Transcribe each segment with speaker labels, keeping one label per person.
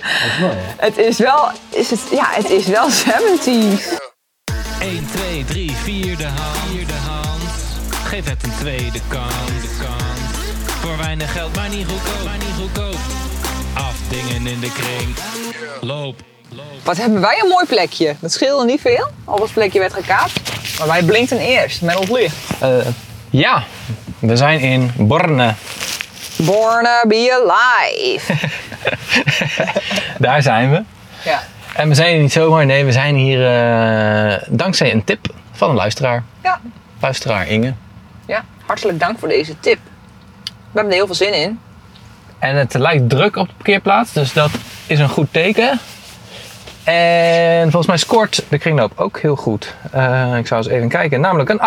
Speaker 1: Dat is mooi, hè?
Speaker 2: Het is wel, is het, ja, het is wel 70s.
Speaker 3: 1, 2, 3, vierde hand. Vierde hand. Geef het een tweede kant. De kant. Voor weinig geld, maar niet goedkoop. Maar niet goedkoop. Afdingen in de kring. Loop.
Speaker 2: Wat hebben wij een mooi plekje. Dat scheelde niet veel. Al dat plekje werd gekaapt. Maar wij blinkten eerst met ons licht.
Speaker 3: Eh, ja, we zijn in Borne.
Speaker 2: Born to be alive.
Speaker 3: Daar zijn we.
Speaker 2: Ja.
Speaker 3: En we zijn hier niet zomaar, nee, we zijn hier eh, dankzij een tip van een luisteraar.
Speaker 2: ja.
Speaker 3: Luisteraar Inge.
Speaker 2: Ja. Hartelijk dank voor deze tip. We hebben er heel veel zin in.
Speaker 3: En het lijkt druk op de parkeerplaats, dus dat is een goed teken. En volgens mij scoort de kringloop ook heel goed. Eh, ik zou eens even kijken, namelijk een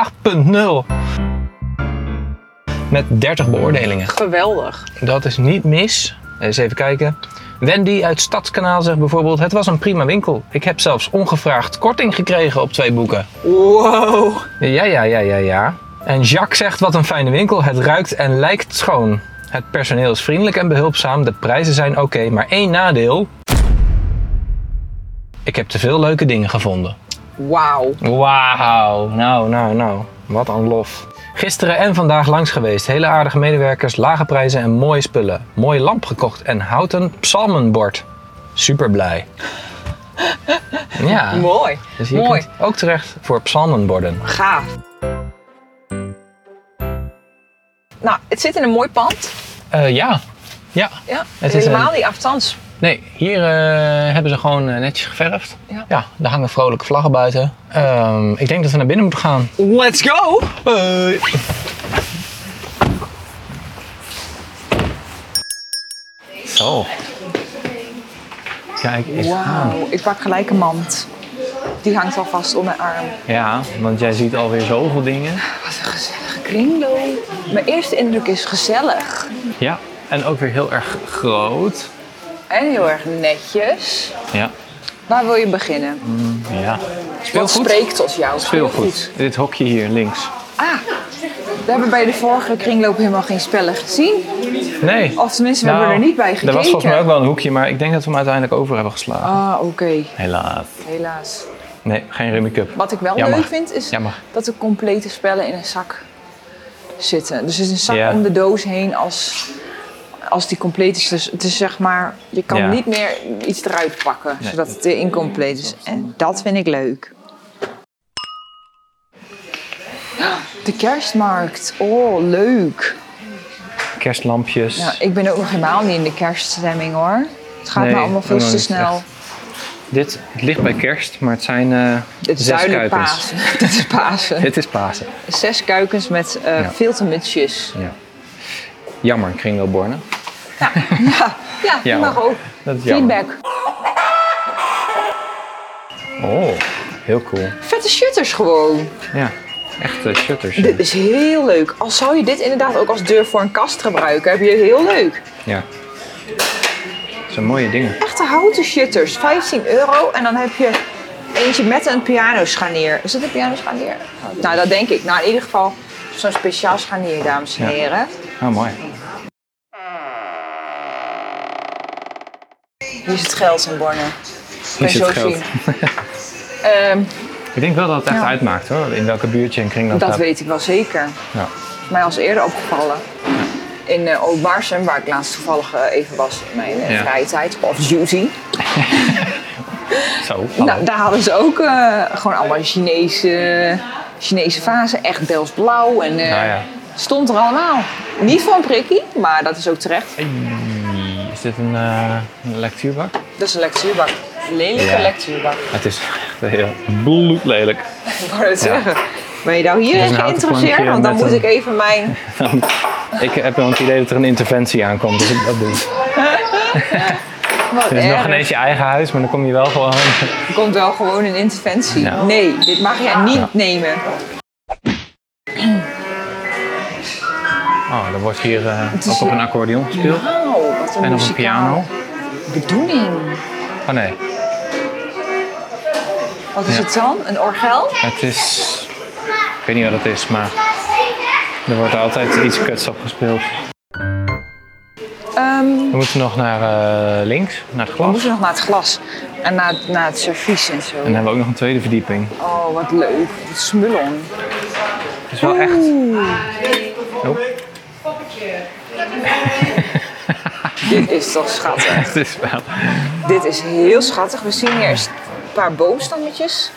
Speaker 3: 8.0. Met 30 beoordelingen.
Speaker 2: Geweldig.
Speaker 3: Dat is niet mis. Eens even kijken. Wendy uit Stadskanaal zegt bijvoorbeeld: Het was een prima winkel. Ik heb zelfs ongevraagd korting gekregen op twee boeken.
Speaker 2: Wow.
Speaker 3: Ja, ja, ja, ja, ja. En Jacques zegt wat een fijne winkel. Het ruikt en lijkt schoon. Het personeel is vriendelijk en behulpzaam. De prijzen zijn oké, maar één nadeel. Ik heb te veel leuke dingen gevonden.
Speaker 2: Wauw.
Speaker 3: Wauw. Nou, nou, nou. Wat een lof. Gisteren en vandaag langs geweest. Hele aardige medewerkers, lage prijzen en mooie spullen. Mooie lamp gekocht en houten psalmenbord. Super blij. Ja.
Speaker 2: Mooi.
Speaker 3: Dus hier
Speaker 2: Mooi.
Speaker 3: kunt ook terecht voor psalmenborden.
Speaker 2: Gaaf. Nou, het zit in een mooi pand.
Speaker 3: Eh, ja. Ja.
Speaker 2: Ja.
Speaker 3: Het is
Speaker 2: helemaal
Speaker 3: een-
Speaker 2: niet afstands.
Speaker 3: Nee, hier eh, hebben ze gewoon eh, netjes geverfd.
Speaker 2: Ja.
Speaker 3: er hangen vrolijke vlaggen buiten. Ehm, ik denk dat we naar binnen moeten gaan.
Speaker 2: Let's go.
Speaker 3: Zo. Kijk eens aan.
Speaker 2: Wauw. Ik pak gelijk een mand. Die hangt al vast om mijn arm.
Speaker 3: Ja, want jij ziet alweer zoveel dingen.
Speaker 2: Wat een gezellige kringloop. Mijn eerste indruk is gezellig.
Speaker 3: Ja, en ook weer heel erg groot.
Speaker 2: En heel erg netjes.
Speaker 3: Ja.
Speaker 2: Waar wil je beginnen?
Speaker 3: ja.
Speaker 2: Wat spreekt tot jou?
Speaker 3: Speelgoed. Dit hokje hier links.
Speaker 2: Ah, we hebben bij de vorige kringloop helemaal geen spellen gezien.
Speaker 3: Nee.
Speaker 2: Of tenminste, Dus we hebben er niet bij gekeken.
Speaker 3: Nou, Er was volgens mij ook wel een hoekje, maar ik denk dat we hem uiteindelijk over hebben geslagen.
Speaker 2: Ah, oké.
Speaker 3: Helaas.
Speaker 2: Helaas.
Speaker 3: Nee, geen remake-up.
Speaker 2: Wat ik wel
Speaker 3: Jammer.
Speaker 2: leuk vind, is
Speaker 3: Jammer.
Speaker 2: dat de complete spellen in een zak zitten. Dus er is een zak
Speaker 3: Ja.
Speaker 2: om de doos heen als, als die compleet is. Dus het is zeg maar, je kan
Speaker 3: Ja.
Speaker 2: niet meer iets eruit pakken, zodat het eh, incompleet is. En dat vind ik leuk. De kerstmarkt. Oh, leuk.
Speaker 3: Kerstlampjes.
Speaker 2: Ja, ik ben ook nog helemaal niet in de kerststemming hoor. Het gaat
Speaker 3: Nee,
Speaker 2: me allemaal veel
Speaker 3: ook nog
Speaker 2: te
Speaker 3: niet
Speaker 2: snel.
Speaker 3: echt. Dit, het ligt bij kerst, maar het zijn eh
Speaker 2: Dit is
Speaker 3: zes
Speaker 2: duidelijk
Speaker 3: kuikens.
Speaker 2: Pasen. Dit is Pasen.
Speaker 3: Dit is Pasen.
Speaker 2: Zes kuikens met eh
Speaker 3: Ja.
Speaker 2: filtermutsjes.
Speaker 3: Ja. Jammer, kringloopborne.
Speaker 2: Ja,
Speaker 3: Ja,
Speaker 2: die mag
Speaker 3: hoor.
Speaker 2: ook.
Speaker 3: Dat is jammer.
Speaker 2: Feedback.
Speaker 3: Oh, heel cool.
Speaker 2: Vette shutters gewoon.
Speaker 3: Ja, echte shutters.
Speaker 2: Dit is heel leuk. Al zou je dit inderdaad ook als deur voor een kast gebruiken, heb je heel leuk.
Speaker 3: Ja. Dat zijn mooie dingen.
Speaker 2: Echte houten shutters, 15 euro. En dan heb je eentje met een pianoscharnier. Is het een pianoscharnier? Nou, dat denk ik. Nou, in ieder geval zo'n speciaal scharnier, dames en
Speaker 3: Ja.
Speaker 2: heren.
Speaker 3: Oh, mooi.
Speaker 2: Hier zit geld in Borne.
Speaker 3: Hier zit
Speaker 2: zo
Speaker 3: geld.
Speaker 2: zien. Ehm,
Speaker 3: Ik denk wel dat het echt
Speaker 2: Ja.
Speaker 3: uitmaakt hoor, in welke buurt je een kringloop
Speaker 2: dat
Speaker 3: hebt.
Speaker 2: weet ik wel zeker.
Speaker 3: Ja.
Speaker 2: Is mij als eerder opgevallen. In eh Oudbaarsum, waar ik laatst toevallig eh, even was in mijn eh,
Speaker 3: Ja.
Speaker 2: vrije tijd. Of duty.
Speaker 3: Zo, hallo.
Speaker 2: Nou, daar hadden ze ook eh, gewoon allemaal Chinese, Chinese vazen. Echt Delfts blauw. En eh,
Speaker 3: Nou ja.
Speaker 2: stond er allemaal. Niet voor een prikkie, maar dat is ook terecht.
Speaker 3: Ei, Is dit een, eh, een lectuurbak?
Speaker 2: Dat is een lectuurbak. Lelijke
Speaker 3: Ja.
Speaker 2: lectuurbak.
Speaker 3: Het is echt heel bloedlelijk.
Speaker 2: Ik wou het zeggen. Ben je nou hierin
Speaker 3: is een houten
Speaker 2: geïnteresseerd?
Speaker 3: plankje
Speaker 2: Want dan
Speaker 3: met
Speaker 2: moet
Speaker 3: een-
Speaker 2: ik even mijn...
Speaker 3: Ik heb wel het idee dat er een interventie aankomt, dus ik dat doe. Het
Speaker 2: Wat
Speaker 3: is nog
Speaker 2: erg.
Speaker 3: geen eens je eigen huis, maar dan kom je wel gewoon.
Speaker 2: Er komt wel gewoon een interventie.
Speaker 3: Ja.
Speaker 2: Nee, dit mag jij niet
Speaker 3: Ja.
Speaker 2: nemen.
Speaker 3: Oh, er wordt hier eh,
Speaker 2: is
Speaker 3: ook op
Speaker 2: hier-
Speaker 3: een accordeon gespeeld.
Speaker 2: Wauw, Oh, wat een
Speaker 3: En op een
Speaker 2: muzikaal
Speaker 3: piano.
Speaker 2: Bedoeling.
Speaker 3: Oh nee,
Speaker 2: Wat is
Speaker 3: Ja.
Speaker 2: het dan? Een orgel?
Speaker 3: het is. Ik weet niet wat het is, maar. Er wordt altijd iets kuts op gespeeld.
Speaker 2: Ehm,
Speaker 3: We moeten nog naar eh, links, naar het
Speaker 2: we
Speaker 3: glas.
Speaker 2: moesten nog naar het glas en naar, het- naar het servies en zo.
Speaker 3: En dan hebben we ook nog een tweede verdieping.
Speaker 2: Oh, wat leuk. Het smullen.
Speaker 3: Het is wel echt... Oh,
Speaker 2: Dit is toch schattig.
Speaker 3: het is wel...
Speaker 2: Dit is heel schattig. We zien hier een paar boomstammetjes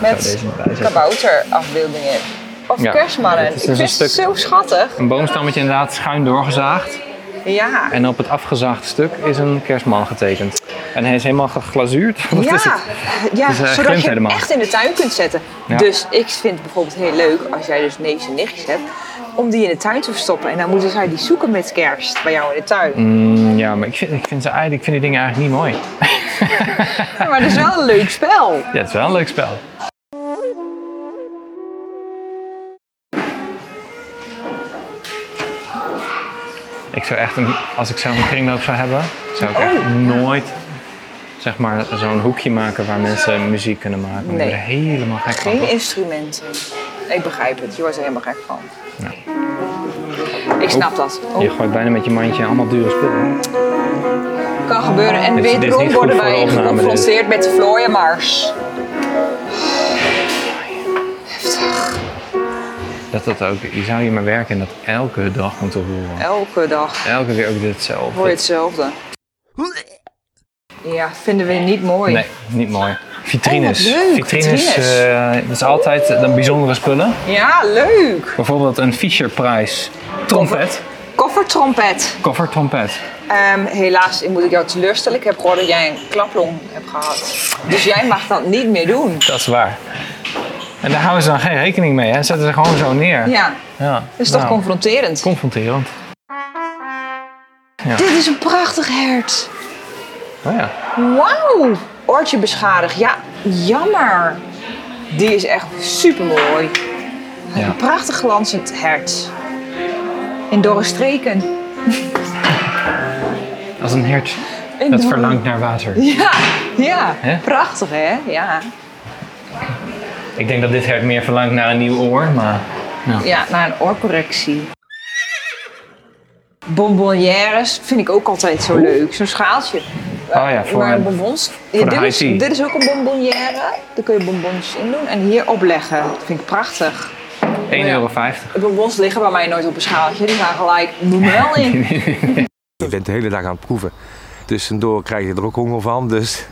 Speaker 2: met
Speaker 3: deze erbij zetten.
Speaker 2: kabouterafbeeldingen. Of
Speaker 3: Ja,
Speaker 2: kerstmannen.
Speaker 3: het is
Speaker 2: Ik
Speaker 3: dus
Speaker 2: vind
Speaker 3: een
Speaker 2: het
Speaker 3: stuk-
Speaker 2: zo schattig.
Speaker 3: Een boomstammetje inderdaad schuin doorgezaagd.
Speaker 2: Ja.
Speaker 3: En op het afgezaagde stuk is een kerstman getekend. En hij is helemaal geglazuurd. Wat is
Speaker 2: Ja,
Speaker 3: het?
Speaker 2: ja
Speaker 3: Het is, eh,
Speaker 2: zodat
Speaker 3: glimt
Speaker 2: je hem
Speaker 3: helemaal.
Speaker 2: echt in de tuin kunt zetten.
Speaker 3: Ja.
Speaker 2: Dus ik vind het bijvoorbeeld heel leuk als jij dus neefjes en nichtjes hebt, om die in de tuin te verstoppen. En dan moeten zij die zoeken met kerst bij jou in de tuin.
Speaker 3: Mm, ja, maar ik vind, ik, vind ze, eigenlijk- ik vind die dingen eigenlijk niet mooi.
Speaker 2: Maar dat is wel een leuk spel.
Speaker 3: Ja, het is wel een leuk spel. Ik zou echt, een, als ik zelf een kringloop zou hebben, zou ik echt
Speaker 2: Oh.
Speaker 3: nooit zeg maar, zo'n hoekje maken waar mensen muziek kunnen maken. Ik
Speaker 2: Nee.
Speaker 3: ben er helemaal gek van.
Speaker 2: Geen instrumenten. Ik begrijp het, je wordt er helemaal gek van. Ik snap dat. Oh,
Speaker 3: Je gooit bijna met je mandje allemaal dure spullen.
Speaker 2: kan gebeuren. En
Speaker 3: Dit is- dit is
Speaker 2: wederom
Speaker 3: niet goed
Speaker 2: worden
Speaker 3: voor de
Speaker 2: wij
Speaker 3: opname, dit.
Speaker 2: geconfronteerd met Flooien Mars. Heftig.
Speaker 3: Dat dat ook, je zou hier maar werken en dat elke dag moeten horen.
Speaker 2: Elke dag
Speaker 3: Elke keer ook
Speaker 2: hoor je
Speaker 3: ditzelfde.
Speaker 2: hetzelfde. Ja, vinden we niet mooi.
Speaker 3: Nee, niet mooi. Vitrines.
Speaker 2: Oh, wat leuk,
Speaker 3: Vitrines,
Speaker 2: vitrines.
Speaker 3: eh, dat is altijd eh, dan bijzondere spullen.
Speaker 2: Ja, leuk.
Speaker 3: Bijvoorbeeld een Fisher-prijs. Trompet.
Speaker 2: Koffertrompet.
Speaker 3: Koffertrompet.
Speaker 2: Ehm, helaas moet ik jou teleurstellen. Ik heb gehoord dat jij een klaplong hebt gehad. Dus jij mag dat niet meer doen.
Speaker 3: Dat is waar. En daar houden ze dan geen rekening mee. Hè? Zetten ze gewoon zo neer.
Speaker 2: Ja, dus
Speaker 3: Ja.
Speaker 2: dat is toch
Speaker 3: Nou,
Speaker 2: confronterend.
Speaker 3: confronterend.
Speaker 2: Dit is een prachtig hert.
Speaker 3: Oh ja.
Speaker 2: Wauw. Oortje beschadigd. Ja, jammer. Die is echt super mooi.
Speaker 3: Ja.
Speaker 2: Een prachtig glanzend hert. In dorre streken.
Speaker 3: Als een hert
Speaker 2: In
Speaker 3: dat
Speaker 2: dorre-
Speaker 3: verlangt naar water.
Speaker 2: Ja, ja.
Speaker 3: Hè?
Speaker 2: Prachtig hè? Ja.
Speaker 3: Ik denk dat dit hert meer verlangt naar een nieuw oor, maar... Nou.
Speaker 2: Ja, naar een oorcorrectie. Bonbonnières vind ik ook altijd zo leuk. Zo'n schaaltje.
Speaker 3: Oh ja, voor
Speaker 2: Eh, maar
Speaker 3: een-
Speaker 2: bonbons.
Speaker 3: de
Speaker 2: dit, is,
Speaker 3: high tea.
Speaker 2: dit is ook een bonbonnière. Daar kun je bonbons in doen en hier opleggen. Dat vind ik prachtig.
Speaker 3: 1,50 euro.
Speaker 2: De bonbons liggen bij mij nooit op een schaaltje. Die gaan gelijk wel in.
Speaker 1: Je bent de hele dag aan het proeven. Tussendoor krijg je er ook honger van. Dus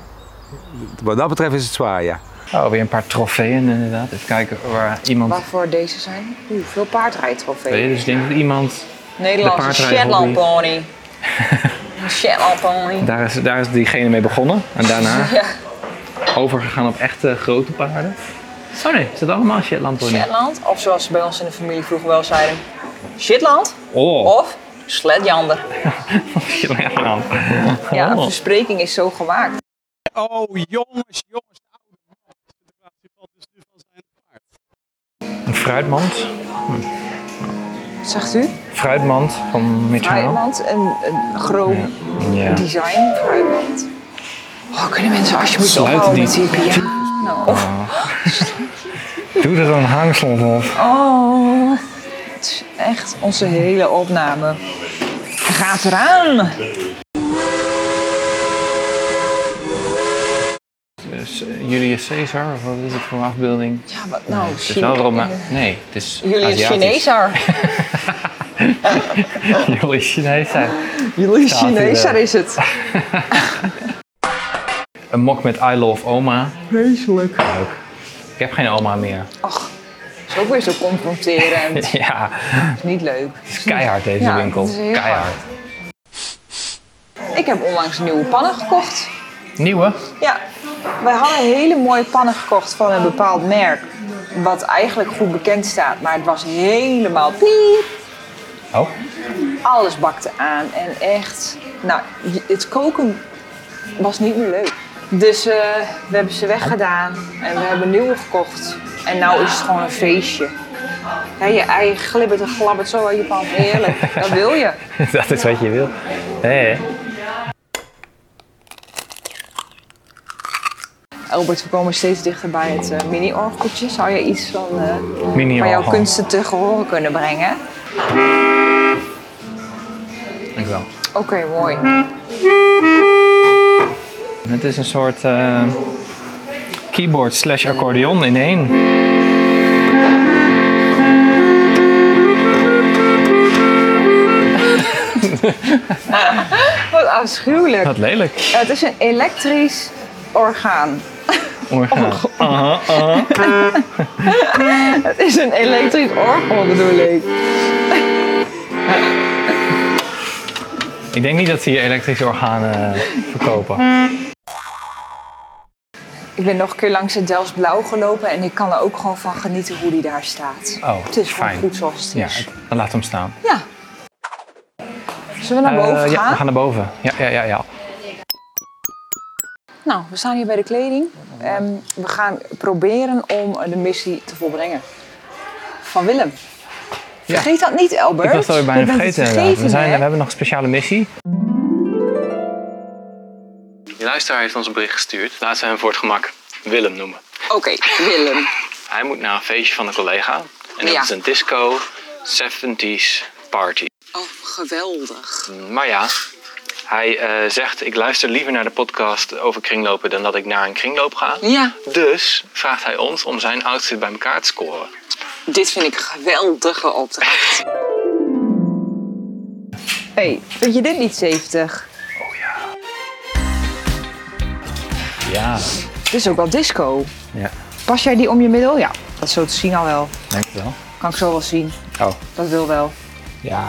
Speaker 1: wat dat betreft is het zwaar, ja.
Speaker 3: Oh, weer een paar trofeeën inderdaad. Even kijken waar iemand...
Speaker 2: Waarvoor deze zijn? Oeh, veel
Speaker 3: Weet je,
Speaker 2: paardrijdtrofee.
Speaker 3: dus ik denk dat iemand...
Speaker 2: Nederlandse
Speaker 3: paardrijdhobby.
Speaker 2: Shetland pony. Een Shetland pony.
Speaker 3: Daar is, daar is diegene mee begonnen. En daarna
Speaker 2: Ja,
Speaker 3: overgegaan op echte grote paarden. Oh nee, is dat allemaal Shetland pony?
Speaker 2: Shetland. Of zoals ze bij ons in de familie vroeger wel zeiden. Shitland
Speaker 3: Oh,
Speaker 2: of Sletjander.
Speaker 3: Shetland.
Speaker 2: Ja, de
Speaker 3: Oh.
Speaker 2: verspreking is zo gemaakt.
Speaker 4: Oh, jongens, jongens. de oude man. De relatie valt dus nu van zijn paard.
Speaker 3: Een fruitmand.
Speaker 2: Zegt u?
Speaker 3: Fruitmand van Mitchell.
Speaker 2: Fruitmand, een, een groot
Speaker 3: Ja.
Speaker 2: design. Fruitmand. Oh, kunnen mensen alsjeblieft
Speaker 3: Sluiten
Speaker 2: ophouden
Speaker 3: die-
Speaker 2: met die piano? Of
Speaker 3: Doe er een hangslot op.
Speaker 2: Oh, het is echt onze hele opname. Hij Gaat eraan.
Speaker 3: Dus, eh, Julius Caesar, of wat is het voor een afbeelding?
Speaker 2: Ja, wat nou?
Speaker 3: Het is wel
Speaker 2: Chine-
Speaker 3: Roma. Nee, het is
Speaker 2: Julius
Speaker 3: Aziatisch.
Speaker 2: Chinezer.
Speaker 3: Julius Chinees zijn.
Speaker 2: Julius
Speaker 3: Staat hier eh.
Speaker 2: Chinezer
Speaker 3: wel.
Speaker 2: is het.
Speaker 3: Een mok met I love oma.
Speaker 2: Vreselijk.
Speaker 3: Leuk. Ik heb geen oma meer.
Speaker 2: Ach, het is ook weer zo confronterend. Het
Speaker 3: Ja,
Speaker 2: is niet leuk.
Speaker 3: het is keihard deze
Speaker 2: Ja,
Speaker 3: winkel.
Speaker 2: het is heel
Speaker 3: Keihard.
Speaker 2: Ik heb onlangs nieuwe pannen gekocht.
Speaker 3: Nieuwe?
Speaker 2: Ja, wij hadden hele mooie pannen gekocht van een bepaald merk. Wat eigenlijk goed bekend staat, maar het was helemaal piep.
Speaker 3: Oh,
Speaker 2: alles bakte aan en echt, nou, je- het koken was niet meer leuk. Dus eh, we hebben ze weggedaan en we hebben nieuwe gekocht. En nou is het gewoon een feestje. Ja, je ei glibbert en glabbert zo uit je pan. Heerlijk, dat wil je.
Speaker 3: dat is wat je wil. Hé.
Speaker 2: Albert, we komen steeds dichter bij het eh, mini-orgeltje. Zou je iets van, eh,
Speaker 3: Mini
Speaker 2: van jouw
Speaker 3: orgel.
Speaker 2: kunsten te horen kunnen brengen?
Speaker 3: Ik wel.
Speaker 2: Oké, mooi.
Speaker 3: Het is een soort eh, keyboard slash accordeon in één.
Speaker 2: Wat afschuwelijk.
Speaker 3: Wat lelijk.
Speaker 2: Het is een elektrisch orgaan.
Speaker 3: Orgaan.
Speaker 2: Oh
Speaker 3: Aha, aha.
Speaker 2: Het is een elektrisch orgel bedoel ik.
Speaker 3: Ik denk niet dat ze hier elektrische organen eh,
Speaker 2: Hmm.
Speaker 3: verkopen.
Speaker 2: Ik ben nog een keer langs het Delfts Blauw gelopen en ik kan er ook gewoon van genieten hoe die daar staat.
Speaker 3: Oh,
Speaker 2: het is gewoon
Speaker 3: fijn.
Speaker 2: goed zoals het
Speaker 3: Ja,
Speaker 2: is.
Speaker 3: dan laat hem staan.
Speaker 2: Ja. Zullen we naar boven
Speaker 3: Eh, ja,
Speaker 2: gaan?
Speaker 3: we gaan naar boven. Ja, ja, ja, ja.
Speaker 2: Nou, we staan hier bij de kleding. Ehm, we gaan proberen om eh, de missie te volbrengen. Van Willem. Vergeet dat niet, Albert.
Speaker 3: Ik was het alweer bijna
Speaker 2: Je bent het
Speaker 3: vergeten. inderdaad. we, zijn,
Speaker 2: hè?
Speaker 3: we hebben nog een speciale missie.
Speaker 5: Die luisteraar heeft ons een bericht gestuurd. Laten we hem voor het gemak Willem noemen.
Speaker 2: Oké, Willem.
Speaker 5: Hij moet naar een feestje van een collega. En dat
Speaker 2: Ja.
Speaker 5: is een disco 70s party.
Speaker 2: Oh, geweldig.
Speaker 5: Maar ja, hij eh, zegt: Ik luister liever naar de podcast over kringlopen dan dat ik naar een kringloop ga.
Speaker 2: Ja,
Speaker 5: Dus vraagt hij ons om zijn outfit bij elkaar te scoren.
Speaker 2: dit vind ik een geweldige opdracht. hey, vind je dit niet 70?
Speaker 3: Ja,
Speaker 2: Dit is Dus ook wel disco.
Speaker 3: Ja.
Speaker 2: Pas jij die om je middel? Ja, dat is zo te zien al wel.
Speaker 3: denk ik wel.
Speaker 2: Kan ik zo wel zien.
Speaker 3: Oh.
Speaker 2: Dat wil wel.
Speaker 3: Ja.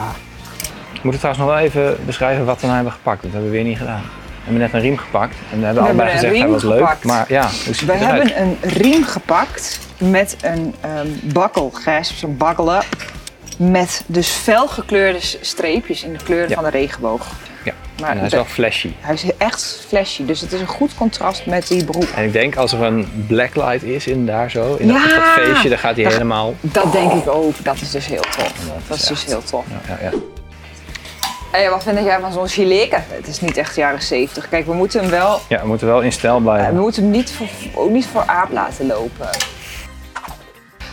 Speaker 3: We moeten trouwens nog wel even beschrijven wat we nou hebben gepakt. Dat hebben we weer niet gedaan. We hebben net een riem gepakt. En we hebben
Speaker 2: We
Speaker 3: allebei
Speaker 2: hebben een
Speaker 3: gezegd,
Speaker 2: riem
Speaker 3: dat was leuk.
Speaker 2: gepakt.
Speaker 3: Maar ja, hoe ziet
Speaker 2: We
Speaker 3: het eruit?
Speaker 2: hebben een riem gepakt met een ehm bakkelgesp, zo'n bakkelen. Met dus felgekleurde s- streepjes in de kleuren
Speaker 3: Ja.
Speaker 2: van de regenboog.
Speaker 3: Ja,
Speaker 2: Maar
Speaker 3: en hij is
Speaker 2: de-
Speaker 3: wel flashy.
Speaker 2: hij is echt flashy, dus het is een goed contrast met die broek.
Speaker 3: En ik denk als er een blacklight is in daar zo, in dat,
Speaker 2: Ja!
Speaker 3: dat feestje, dan gaat hij
Speaker 2: Dan-
Speaker 3: helemaal...
Speaker 2: Dat denk ik ook, dat is dus heel tof. Dat is dus heel tof.
Speaker 3: Ja, ja, ja.
Speaker 2: Hé, wat vind jij van zo'n chileke? Het is niet echt jaren 70. Kijk, we moeten hem wel,
Speaker 3: ja, we moeten wel in stijl
Speaker 2: eh,
Speaker 3: blijven.
Speaker 2: we moeten hem niet voor, ook niet voor aap laten lopen.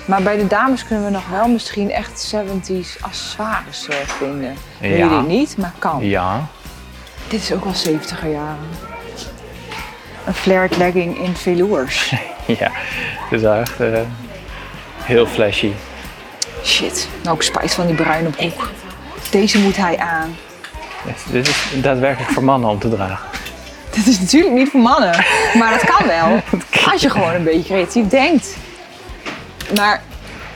Speaker 2: Maar bij de dames kunnen we nog wel misschien echt 70s accessoires eh, vinden.
Speaker 3: Ja.
Speaker 2: Weet ik niet, maar kan.
Speaker 3: Ja,
Speaker 2: Dit is ook wel 70er jaren. Een flared legging in velours.
Speaker 3: ja. Het is wel echt eh, heel flashy.
Speaker 2: Shit, nou ik spijt van die bruine broek. Deze moet hij aan.
Speaker 3: Dit- Dit is daadwerkelijk voor mannen om te dragen.
Speaker 2: Dit is natuurlijk niet voor mannen, maar dat kan wel. Als je gewoon een beetje creatief denkt. Maar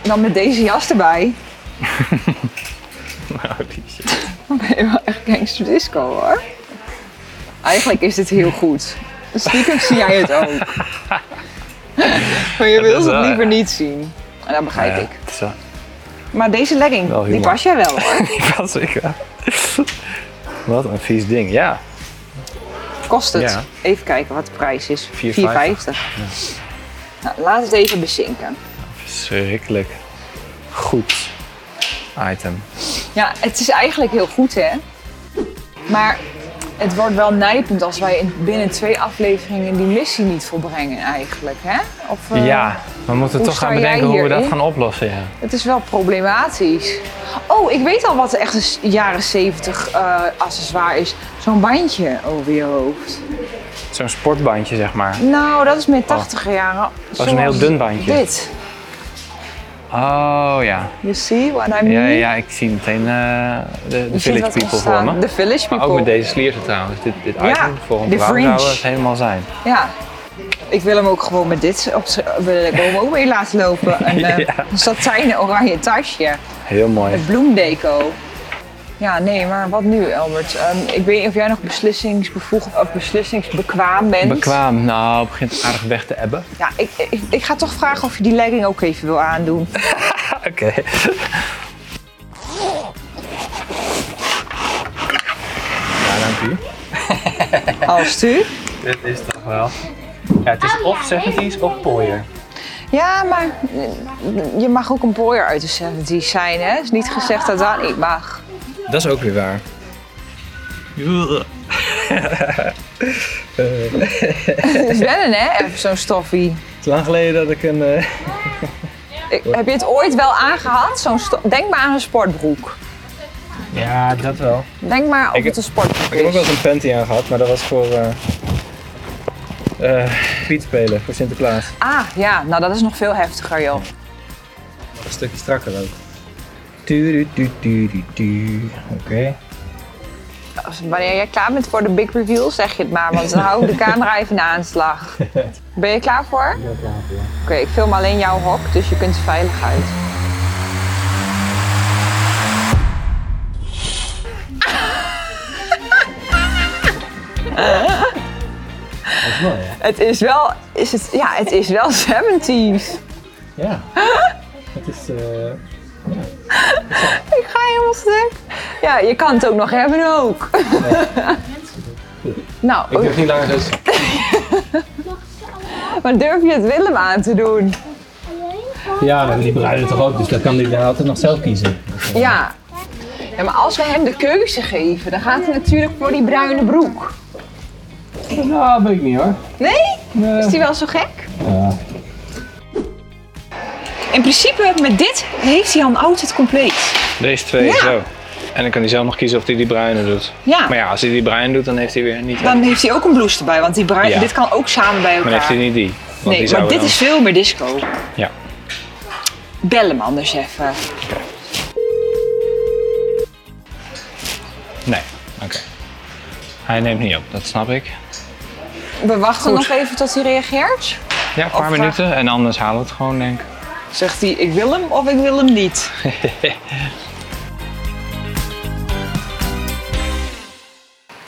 Speaker 2: dan met deze jas erbij.
Speaker 3: Nou, die shit.
Speaker 2: Dan ben je wel echt gangster disco hoor. Eigenlijk is dit heel goed. Stiekem zie jij het ook. Maar je
Speaker 3: is
Speaker 2: wilt
Speaker 3: wel,
Speaker 2: het liever
Speaker 3: ja.
Speaker 2: niet zien. En dat begrijp
Speaker 3: Ja,
Speaker 2: ik.
Speaker 3: het is wel-
Speaker 2: Maar deze
Speaker 3: Wel
Speaker 2: legging, die
Speaker 3: humor.
Speaker 2: pas jij wel hoor.
Speaker 3: Ja, zeker. Wat een vies ding. Ja,
Speaker 2: Kost het?
Speaker 3: Ja.
Speaker 2: Even kijken wat de prijs is. 4,50.
Speaker 3: 4,50.
Speaker 2: Nou, laat het even bezinken.
Speaker 3: verschrikkelijk goed item.
Speaker 2: Ja, het is eigenlijk heel goed, hè? Maar het wordt wel nijpend als wij in- binnen twee afleveringen die missie niet volbrengen, eigenlijk, hè? Of, eh,
Speaker 3: Ja, we moeten
Speaker 2: hoe
Speaker 3: toch gaan
Speaker 2: sta jij
Speaker 3: bedenken hoe we dat
Speaker 2: hierin?
Speaker 3: gaan oplossen. Ja.
Speaker 2: Het is wel problematisch. Oh, ik weet al wat echt een s- jaren 70 eh, accessoire is. Zo'n bandje over je hoofd.
Speaker 3: Zo'n sportbandje, zeg maar.
Speaker 2: Nou, dat is meer 80 jaren. Dat
Speaker 3: Oh. is een heel dun bandje.
Speaker 2: Dit.
Speaker 3: Oh ja.
Speaker 2: You see what I mean?
Speaker 3: Ja, ja ik zie meteen eh, de, de
Speaker 2: Je ziet
Speaker 3: village
Speaker 2: wat
Speaker 3: people voor
Speaker 2: ontstaan.
Speaker 3: me.
Speaker 2: De village people.
Speaker 3: Maar ook met deze slierten trouwens. Dit, dit item
Speaker 2: Ja,
Speaker 3: voor ons
Speaker 2: de
Speaker 3: vrouw
Speaker 2: fringe.
Speaker 3: zou het helemaal zijn.
Speaker 2: Ja. Ik wil hem ook gewoon met dit op wil ik hem ook mee laten lopen. Een eh,
Speaker 3: Ja.
Speaker 2: satijnen oranje tasje.
Speaker 3: Heel mooi.
Speaker 2: Met bloemdeco. Ja, nee, maar wat nu, Albert? Ehm, ik weet niet of jij nog beslissingsbevoegd of beslissingsbekwaam bent.
Speaker 3: Bekwaam. Nou, het begint aardig weg te ebben.
Speaker 2: Ja, ik, ik, ik ga toch vragen of je die legging ook even wil aandoen. Ah,
Speaker 3: Oké. Ja, dank u.
Speaker 2: Als u.
Speaker 3: Dit is toch wel... Ja, het is of 70s of pooier.
Speaker 2: Ja, maar eh, je mag ook een boyer uit de 70s zijn, hè? is niet gezegd dat dat niet mag.
Speaker 3: Dat is ook weer waar.
Speaker 2: Het is wennen, hè? Even zo'n stoffie.
Speaker 3: Het is lang geleden dat ik een... eh,
Speaker 2: Ik- heb je het ooit wel aangehad? Zo'n sto- Denk maar aan een sportbroek.
Speaker 3: Ja, dat wel.
Speaker 2: Denk maar of
Speaker 3: Ik-
Speaker 2: het een sportpak
Speaker 3: Ik heb ook wel
Speaker 2: is.
Speaker 3: eens een panty aan gehad, maar dat was voor eh eh pietspelen, voor Sinterklaas.
Speaker 2: Ah, ja. Nou, dat is nog veel heftiger, joh.
Speaker 3: Een stukje strakker ook. Tudu, tudu, tudu, tudu. Oké.
Speaker 2: Als- Wanneer jij klaar bent voor de big reveal, zeg je het maar. Want dan hou ik de camera even in aanslag. Ben je klaar voor? Ik ben klaar voor. Oké, ik film alleen jouw hok, dus je kunt veilig uit. Het is wel, is het, ja, het is wel 70s.
Speaker 6: Ja. Het is... eh,
Speaker 2: Ik ga helemaal stuk. Ja, je kan het ook nog hebben ook. nou,
Speaker 3: Ik
Speaker 6: oh,
Speaker 3: durf niet langer dus.
Speaker 2: maar durf je het Willem aan te doen?
Speaker 6: ja, maar die bruiden toch ook, dus dat kan hij dan altijd nog zelf kiezen.
Speaker 2: Ja. ja. Maar als we hem de keuze geven, dan gaat hij natuurlijk voor die bruine broek.
Speaker 6: Nou, weet ik niet hoor.
Speaker 2: Nee? Is die wel zo gek? In principe, met dit heeft hij dan altijd compleet.
Speaker 3: Deze twee
Speaker 2: Ja.
Speaker 3: zo. En dan kan hij zelf nog kiezen of hij die bruine doet.
Speaker 2: Ja.
Speaker 3: Maar ja, als hij die bruine doet, dan heeft hij weer niet.
Speaker 2: Dan heeft hij ook een blouse erbij, want die bruin,
Speaker 3: Ja.
Speaker 2: dit kan ook samen bij
Speaker 3: Maar dan heeft
Speaker 2: elkaar.
Speaker 3: hij niet die. Want die
Speaker 2: nee,
Speaker 3: zou
Speaker 2: maar dit
Speaker 3: dan-
Speaker 2: is veel meer disco.
Speaker 3: Ja.
Speaker 2: Bel hem anders even.
Speaker 3: Nee, oké. Hij neemt niet op, dat snap ik.
Speaker 2: We wachten nog even tot hij reageert.
Speaker 3: Ja, een paar
Speaker 2: Of, eh,
Speaker 3: minuten en anders halen we het gewoon, denk ik.
Speaker 2: Zegt hij, ik wil hem of ik wil hem niet.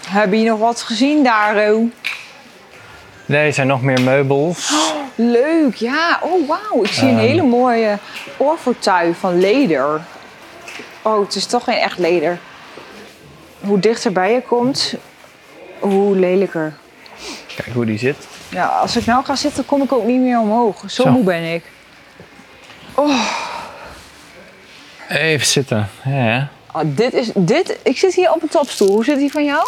Speaker 2: Heb je nog wat gezien daar, Ro?
Speaker 3: Nee, er zijn nog meer meubels.
Speaker 2: Leuk, ja. Oh, wauw. Ik zie een hele mooie oorfortuin van leder. Oh, het is toch geen echt leder. Hoe dichter bij je komt, hoe lelijker.
Speaker 3: Kijk hoe die zit.
Speaker 2: Ja, als ik nou ga zitten, kom ik ook niet meer omhoog. Zo, moe ben ik.
Speaker 3: Even zitten. Ja, ja.
Speaker 2: Ah, dit is, dit, ik zit hier op een topstoel. Hoe zit die van jou?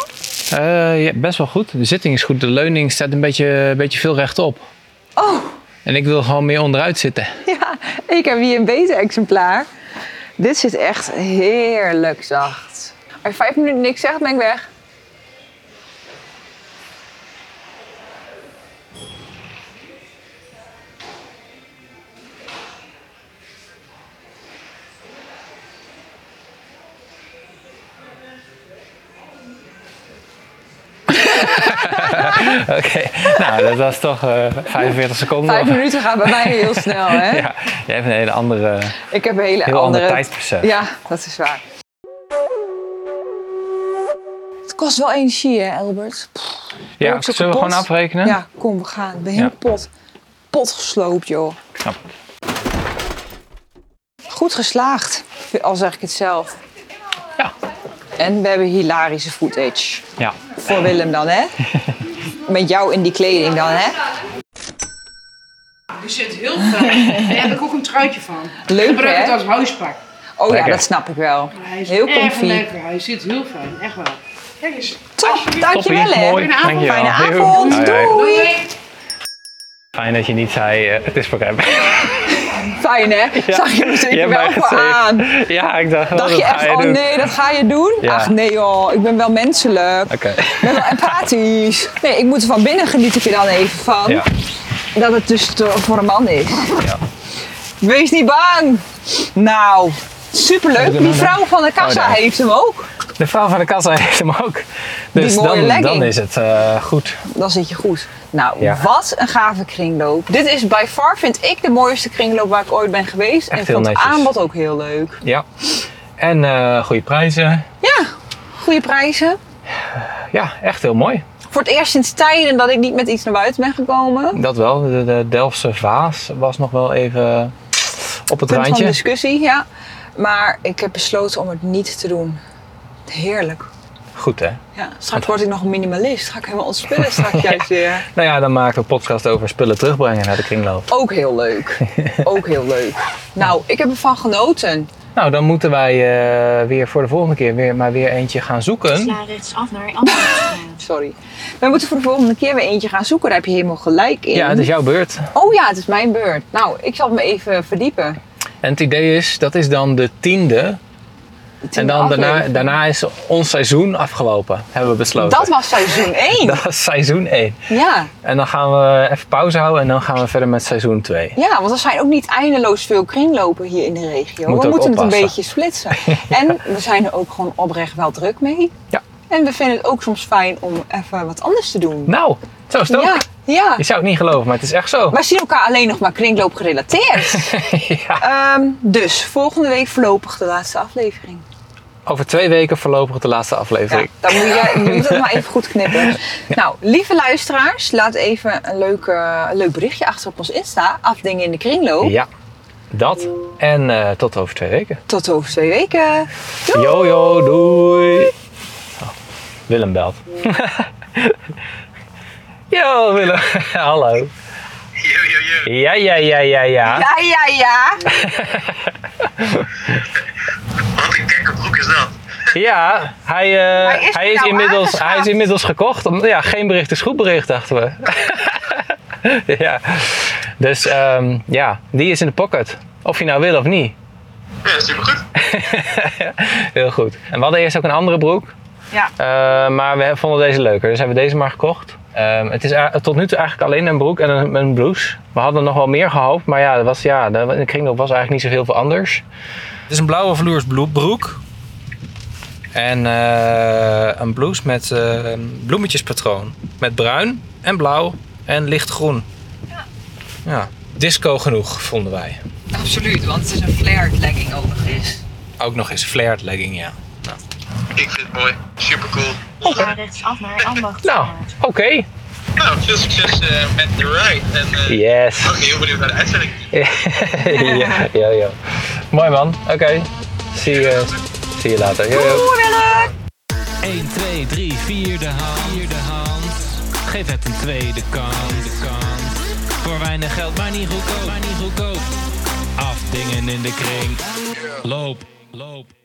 Speaker 3: Eh, ja, best wel goed. De zitting is goed. De leuning staat een beetje, een beetje veel rechtop.
Speaker 2: Oh,
Speaker 3: En ik wil gewoon meer onderuit zitten.
Speaker 2: ja. Ik heb hier een beter exemplaar. Dit zit echt heerlijk zacht. Als je vijf minuten niks zegt, ben ik weg.
Speaker 3: Oké, nou dat was toch eh, 45 seconden.
Speaker 2: Vijf minuten gaat bij mij heel snel, hè?
Speaker 3: Oh. Ja, je hebt een hele andere,
Speaker 2: Ik heb een hele
Speaker 3: heel
Speaker 2: andere...
Speaker 3: ander tijdsbesef.
Speaker 2: Ja, dat is waar. Het kost wel energie, hè, Albert?
Speaker 3: Ja,
Speaker 2: ook zo
Speaker 3: zullen we
Speaker 2: kapot.
Speaker 3: gewoon afrekenen?
Speaker 2: Ja, kom, we gaan. Ik ben helemaal pot. Pot gesloopt, joh.
Speaker 3: Ja.
Speaker 2: Goed geslaagd, al zeg ik het zelf.
Speaker 3: Ja.
Speaker 2: En we hebben hilarische footage.
Speaker 3: Ja.
Speaker 2: Voor Willem dan, hè? Met jou in die kleding dan, hè?
Speaker 7: Er zit heel veel. Daar heb ik ook een truitje van.
Speaker 2: Leuk,
Speaker 7: ik gebruik
Speaker 2: hè?
Speaker 7: het als huispak.
Speaker 2: Oh ja,
Speaker 3: Lekker.
Speaker 2: dat snap ik wel.
Speaker 7: Hij is
Speaker 2: Heel
Speaker 7: erg
Speaker 2: comfy.
Speaker 7: lekker. Hij zit heel fijn, echt wel. Kijk eens.
Speaker 2: Top, dankjewel,
Speaker 3: Toppie,
Speaker 2: hè?
Speaker 3: mooi.
Speaker 7: Fijne avond.
Speaker 3: Dankjewel.
Speaker 2: Fijne
Speaker 3: Heel-
Speaker 2: avond,
Speaker 3: Hoi, hoi.
Speaker 2: doei!
Speaker 3: Fijn dat je niet zei, eh, het is voor hem.
Speaker 2: Fijn, hè? Zag je me
Speaker 3: Je
Speaker 2: zeker
Speaker 3: hebt
Speaker 2: wel
Speaker 3: mij
Speaker 2: voor
Speaker 3: gesaved.
Speaker 2: aan.
Speaker 3: Ja, ik dacht, wel
Speaker 2: Dacht
Speaker 3: dat
Speaker 2: je
Speaker 3: ga
Speaker 2: echt,
Speaker 3: je
Speaker 2: oh
Speaker 3: doen.
Speaker 2: nee, dat ga je doen?
Speaker 3: Ja.
Speaker 2: Ach nee joh, ik ben wel menselijk.
Speaker 3: Oké,
Speaker 2: Ik ben wel empathisch. Nee, ik moet er van binnen geniet ik er dan even van.
Speaker 3: ja.
Speaker 2: Dat het dus te- voor een man is. Wees niet bang. Nou, superleuk. Die vrouw van de kassa
Speaker 3: Oh, daar.
Speaker 2: heeft hem ook.
Speaker 3: De vrouw van de kassa heeft hem ook. Dus
Speaker 2: mooie
Speaker 3: dan,
Speaker 2: legging.
Speaker 3: dan is het eh, goed.
Speaker 2: Dan zit je goed. Nou,
Speaker 3: Ja.
Speaker 2: wat een gave kringloop. Dit is by far, vind ik, de mooiste kringloop waar ik ooit ben geweest.
Speaker 3: Echt
Speaker 2: en
Speaker 3: heel
Speaker 2: vond het
Speaker 3: netjes.
Speaker 2: aanbod ook heel leuk.
Speaker 3: Ja. En eh goede prijzen.
Speaker 2: Ja, goede prijzen.
Speaker 3: Ja, echt heel mooi.
Speaker 2: Voor het eerst sinds tijden dat ik niet met iets naar buiten ben gekomen.
Speaker 3: Dat wel. De, de Delftse vaas was nog wel even op het
Speaker 2: punt van
Speaker 3: randje.
Speaker 2: discussie, ja. Maar ik heb besloten om het niet te doen. Heerlijk.
Speaker 3: Goed hè?
Speaker 2: Ja, straks word ik nog een minimalist. Ga ik helemaal ontspullen straks juist weer.
Speaker 3: Nou ja, dan maken we een podcast over spullen terugbrengen naar de kringloop.
Speaker 2: Ook heel leuk. Ook heel leuk. Nou, ik heb ervan genoten.
Speaker 3: Nou, dan moeten wij eh, weer voor de volgende keer weer, maar weer eentje gaan zoeken.
Speaker 8: Sla rechtsaf naar Amsterdam.
Speaker 2: Sorry. We moeten voor de volgende keer weer eentje gaan zoeken. Daar heb je helemaal gelijk in.
Speaker 3: Ja, het is jouw beurt.
Speaker 2: Oh ja, het is mijn beurt. Nou, ik zal me even verdiepen.
Speaker 3: En het idee is, dat is dan de tiende En dan daarna, daarna is ons seizoen afgelopen, hebben we besloten.
Speaker 2: Dat was seizoen 1.
Speaker 3: Dat was seizoen 1.
Speaker 2: Ja.
Speaker 3: En dan gaan we even pauze houden en dan gaan we verder met seizoen 2.
Speaker 2: ja, want er zijn ook niet eindeloos veel kringlopen hier in de regio.
Speaker 3: Moet
Speaker 2: we
Speaker 3: ook
Speaker 2: moeten het een
Speaker 3: oppassen.
Speaker 2: beetje splitsen. En we zijn er ook gewoon oprecht wel druk mee.
Speaker 3: Ja.
Speaker 2: En we vinden het ook soms fijn om even wat anders te doen.
Speaker 3: Nou, zo is het ook.
Speaker 2: ja, ja.
Speaker 3: Je zou het niet geloven, maar het is echt zo.
Speaker 2: Wij zien elkaar alleen nog maar kringloop gerelateerd. Ehm, dus volgende week voorlopig de laatste aflevering.
Speaker 3: Over twee weken voorlopig de laatste
Speaker 2: Ja,
Speaker 3: aflevering.
Speaker 2: dan moet jij je moet het maar even goed knippen. Nou, lieve luisteraars, laat even een leuk, eh, een leuk berichtje achter op ons Insta. Afdingen in de kringloop.
Speaker 3: Ja, Oh. dat. En eh, tot over twee weken.
Speaker 2: Tot over twee weken.
Speaker 3: Yo, yo, doei. Oh, Willem belt. yo, Willem. Hallo. Yo, yo, yo. Ja, ja, ja, ja, ja.
Speaker 2: Ja, ja, ja.
Speaker 3: Ja, hij, eh,
Speaker 2: Hij is
Speaker 3: hij, is,
Speaker 2: nou
Speaker 3: inmiddels,
Speaker 2: aangeschaft.
Speaker 3: hij is inmiddels gekocht. Om- Ja, geen bericht is goed bericht, dachten we. ja. Dus ehm, ja, die is in de pocket. Of je nou wil of niet.
Speaker 4: Ja, supergoed.
Speaker 3: Heel goed. En we hadden eerst ook een andere broek.
Speaker 2: Ja.
Speaker 3: Eh, maar we vonden deze leuker, dus hebben we deze maar gekocht. Ehm, het is a- tot nu toe eigenlijk alleen een broek en een, een blouse. We hadden nog wel meer gehoopt, maar ja, dat was, ja de, in de kringloop was eigenlijk niet zoveel veel anders. Het is een blauwe vloersbroek. En eh, een blouse met eh, een bloemetjespatroon. Met bruin en blauw en lichtgroen. Ja. ja. Disco genoeg, vonden wij.
Speaker 2: Absoluut, want het is een flared legging ook nog eens.
Speaker 3: Ook nog eens flared legging, ja.
Speaker 4: Ik vind het mooi. Supercool.
Speaker 8: Ga rechtsaf naar Ambacht.
Speaker 3: Nou, oké.
Speaker 4: Nou, veel succes eh, met de ride. En eh,
Speaker 3: Yes.
Speaker 4: ook heel benieuwd naar de uitzending.
Speaker 3: ja, ja, ja. Mooi man. Oké. Zie je. Zie je later. Yo, yo.
Speaker 9: 1, 2, 3, 4 de hand. Vierde hand. Geef het een tweede kans. De kans. Voor weinig geld, maar niet goedkoop. Maar niet goedkoop. Afdingen in de kring. Loop, loop.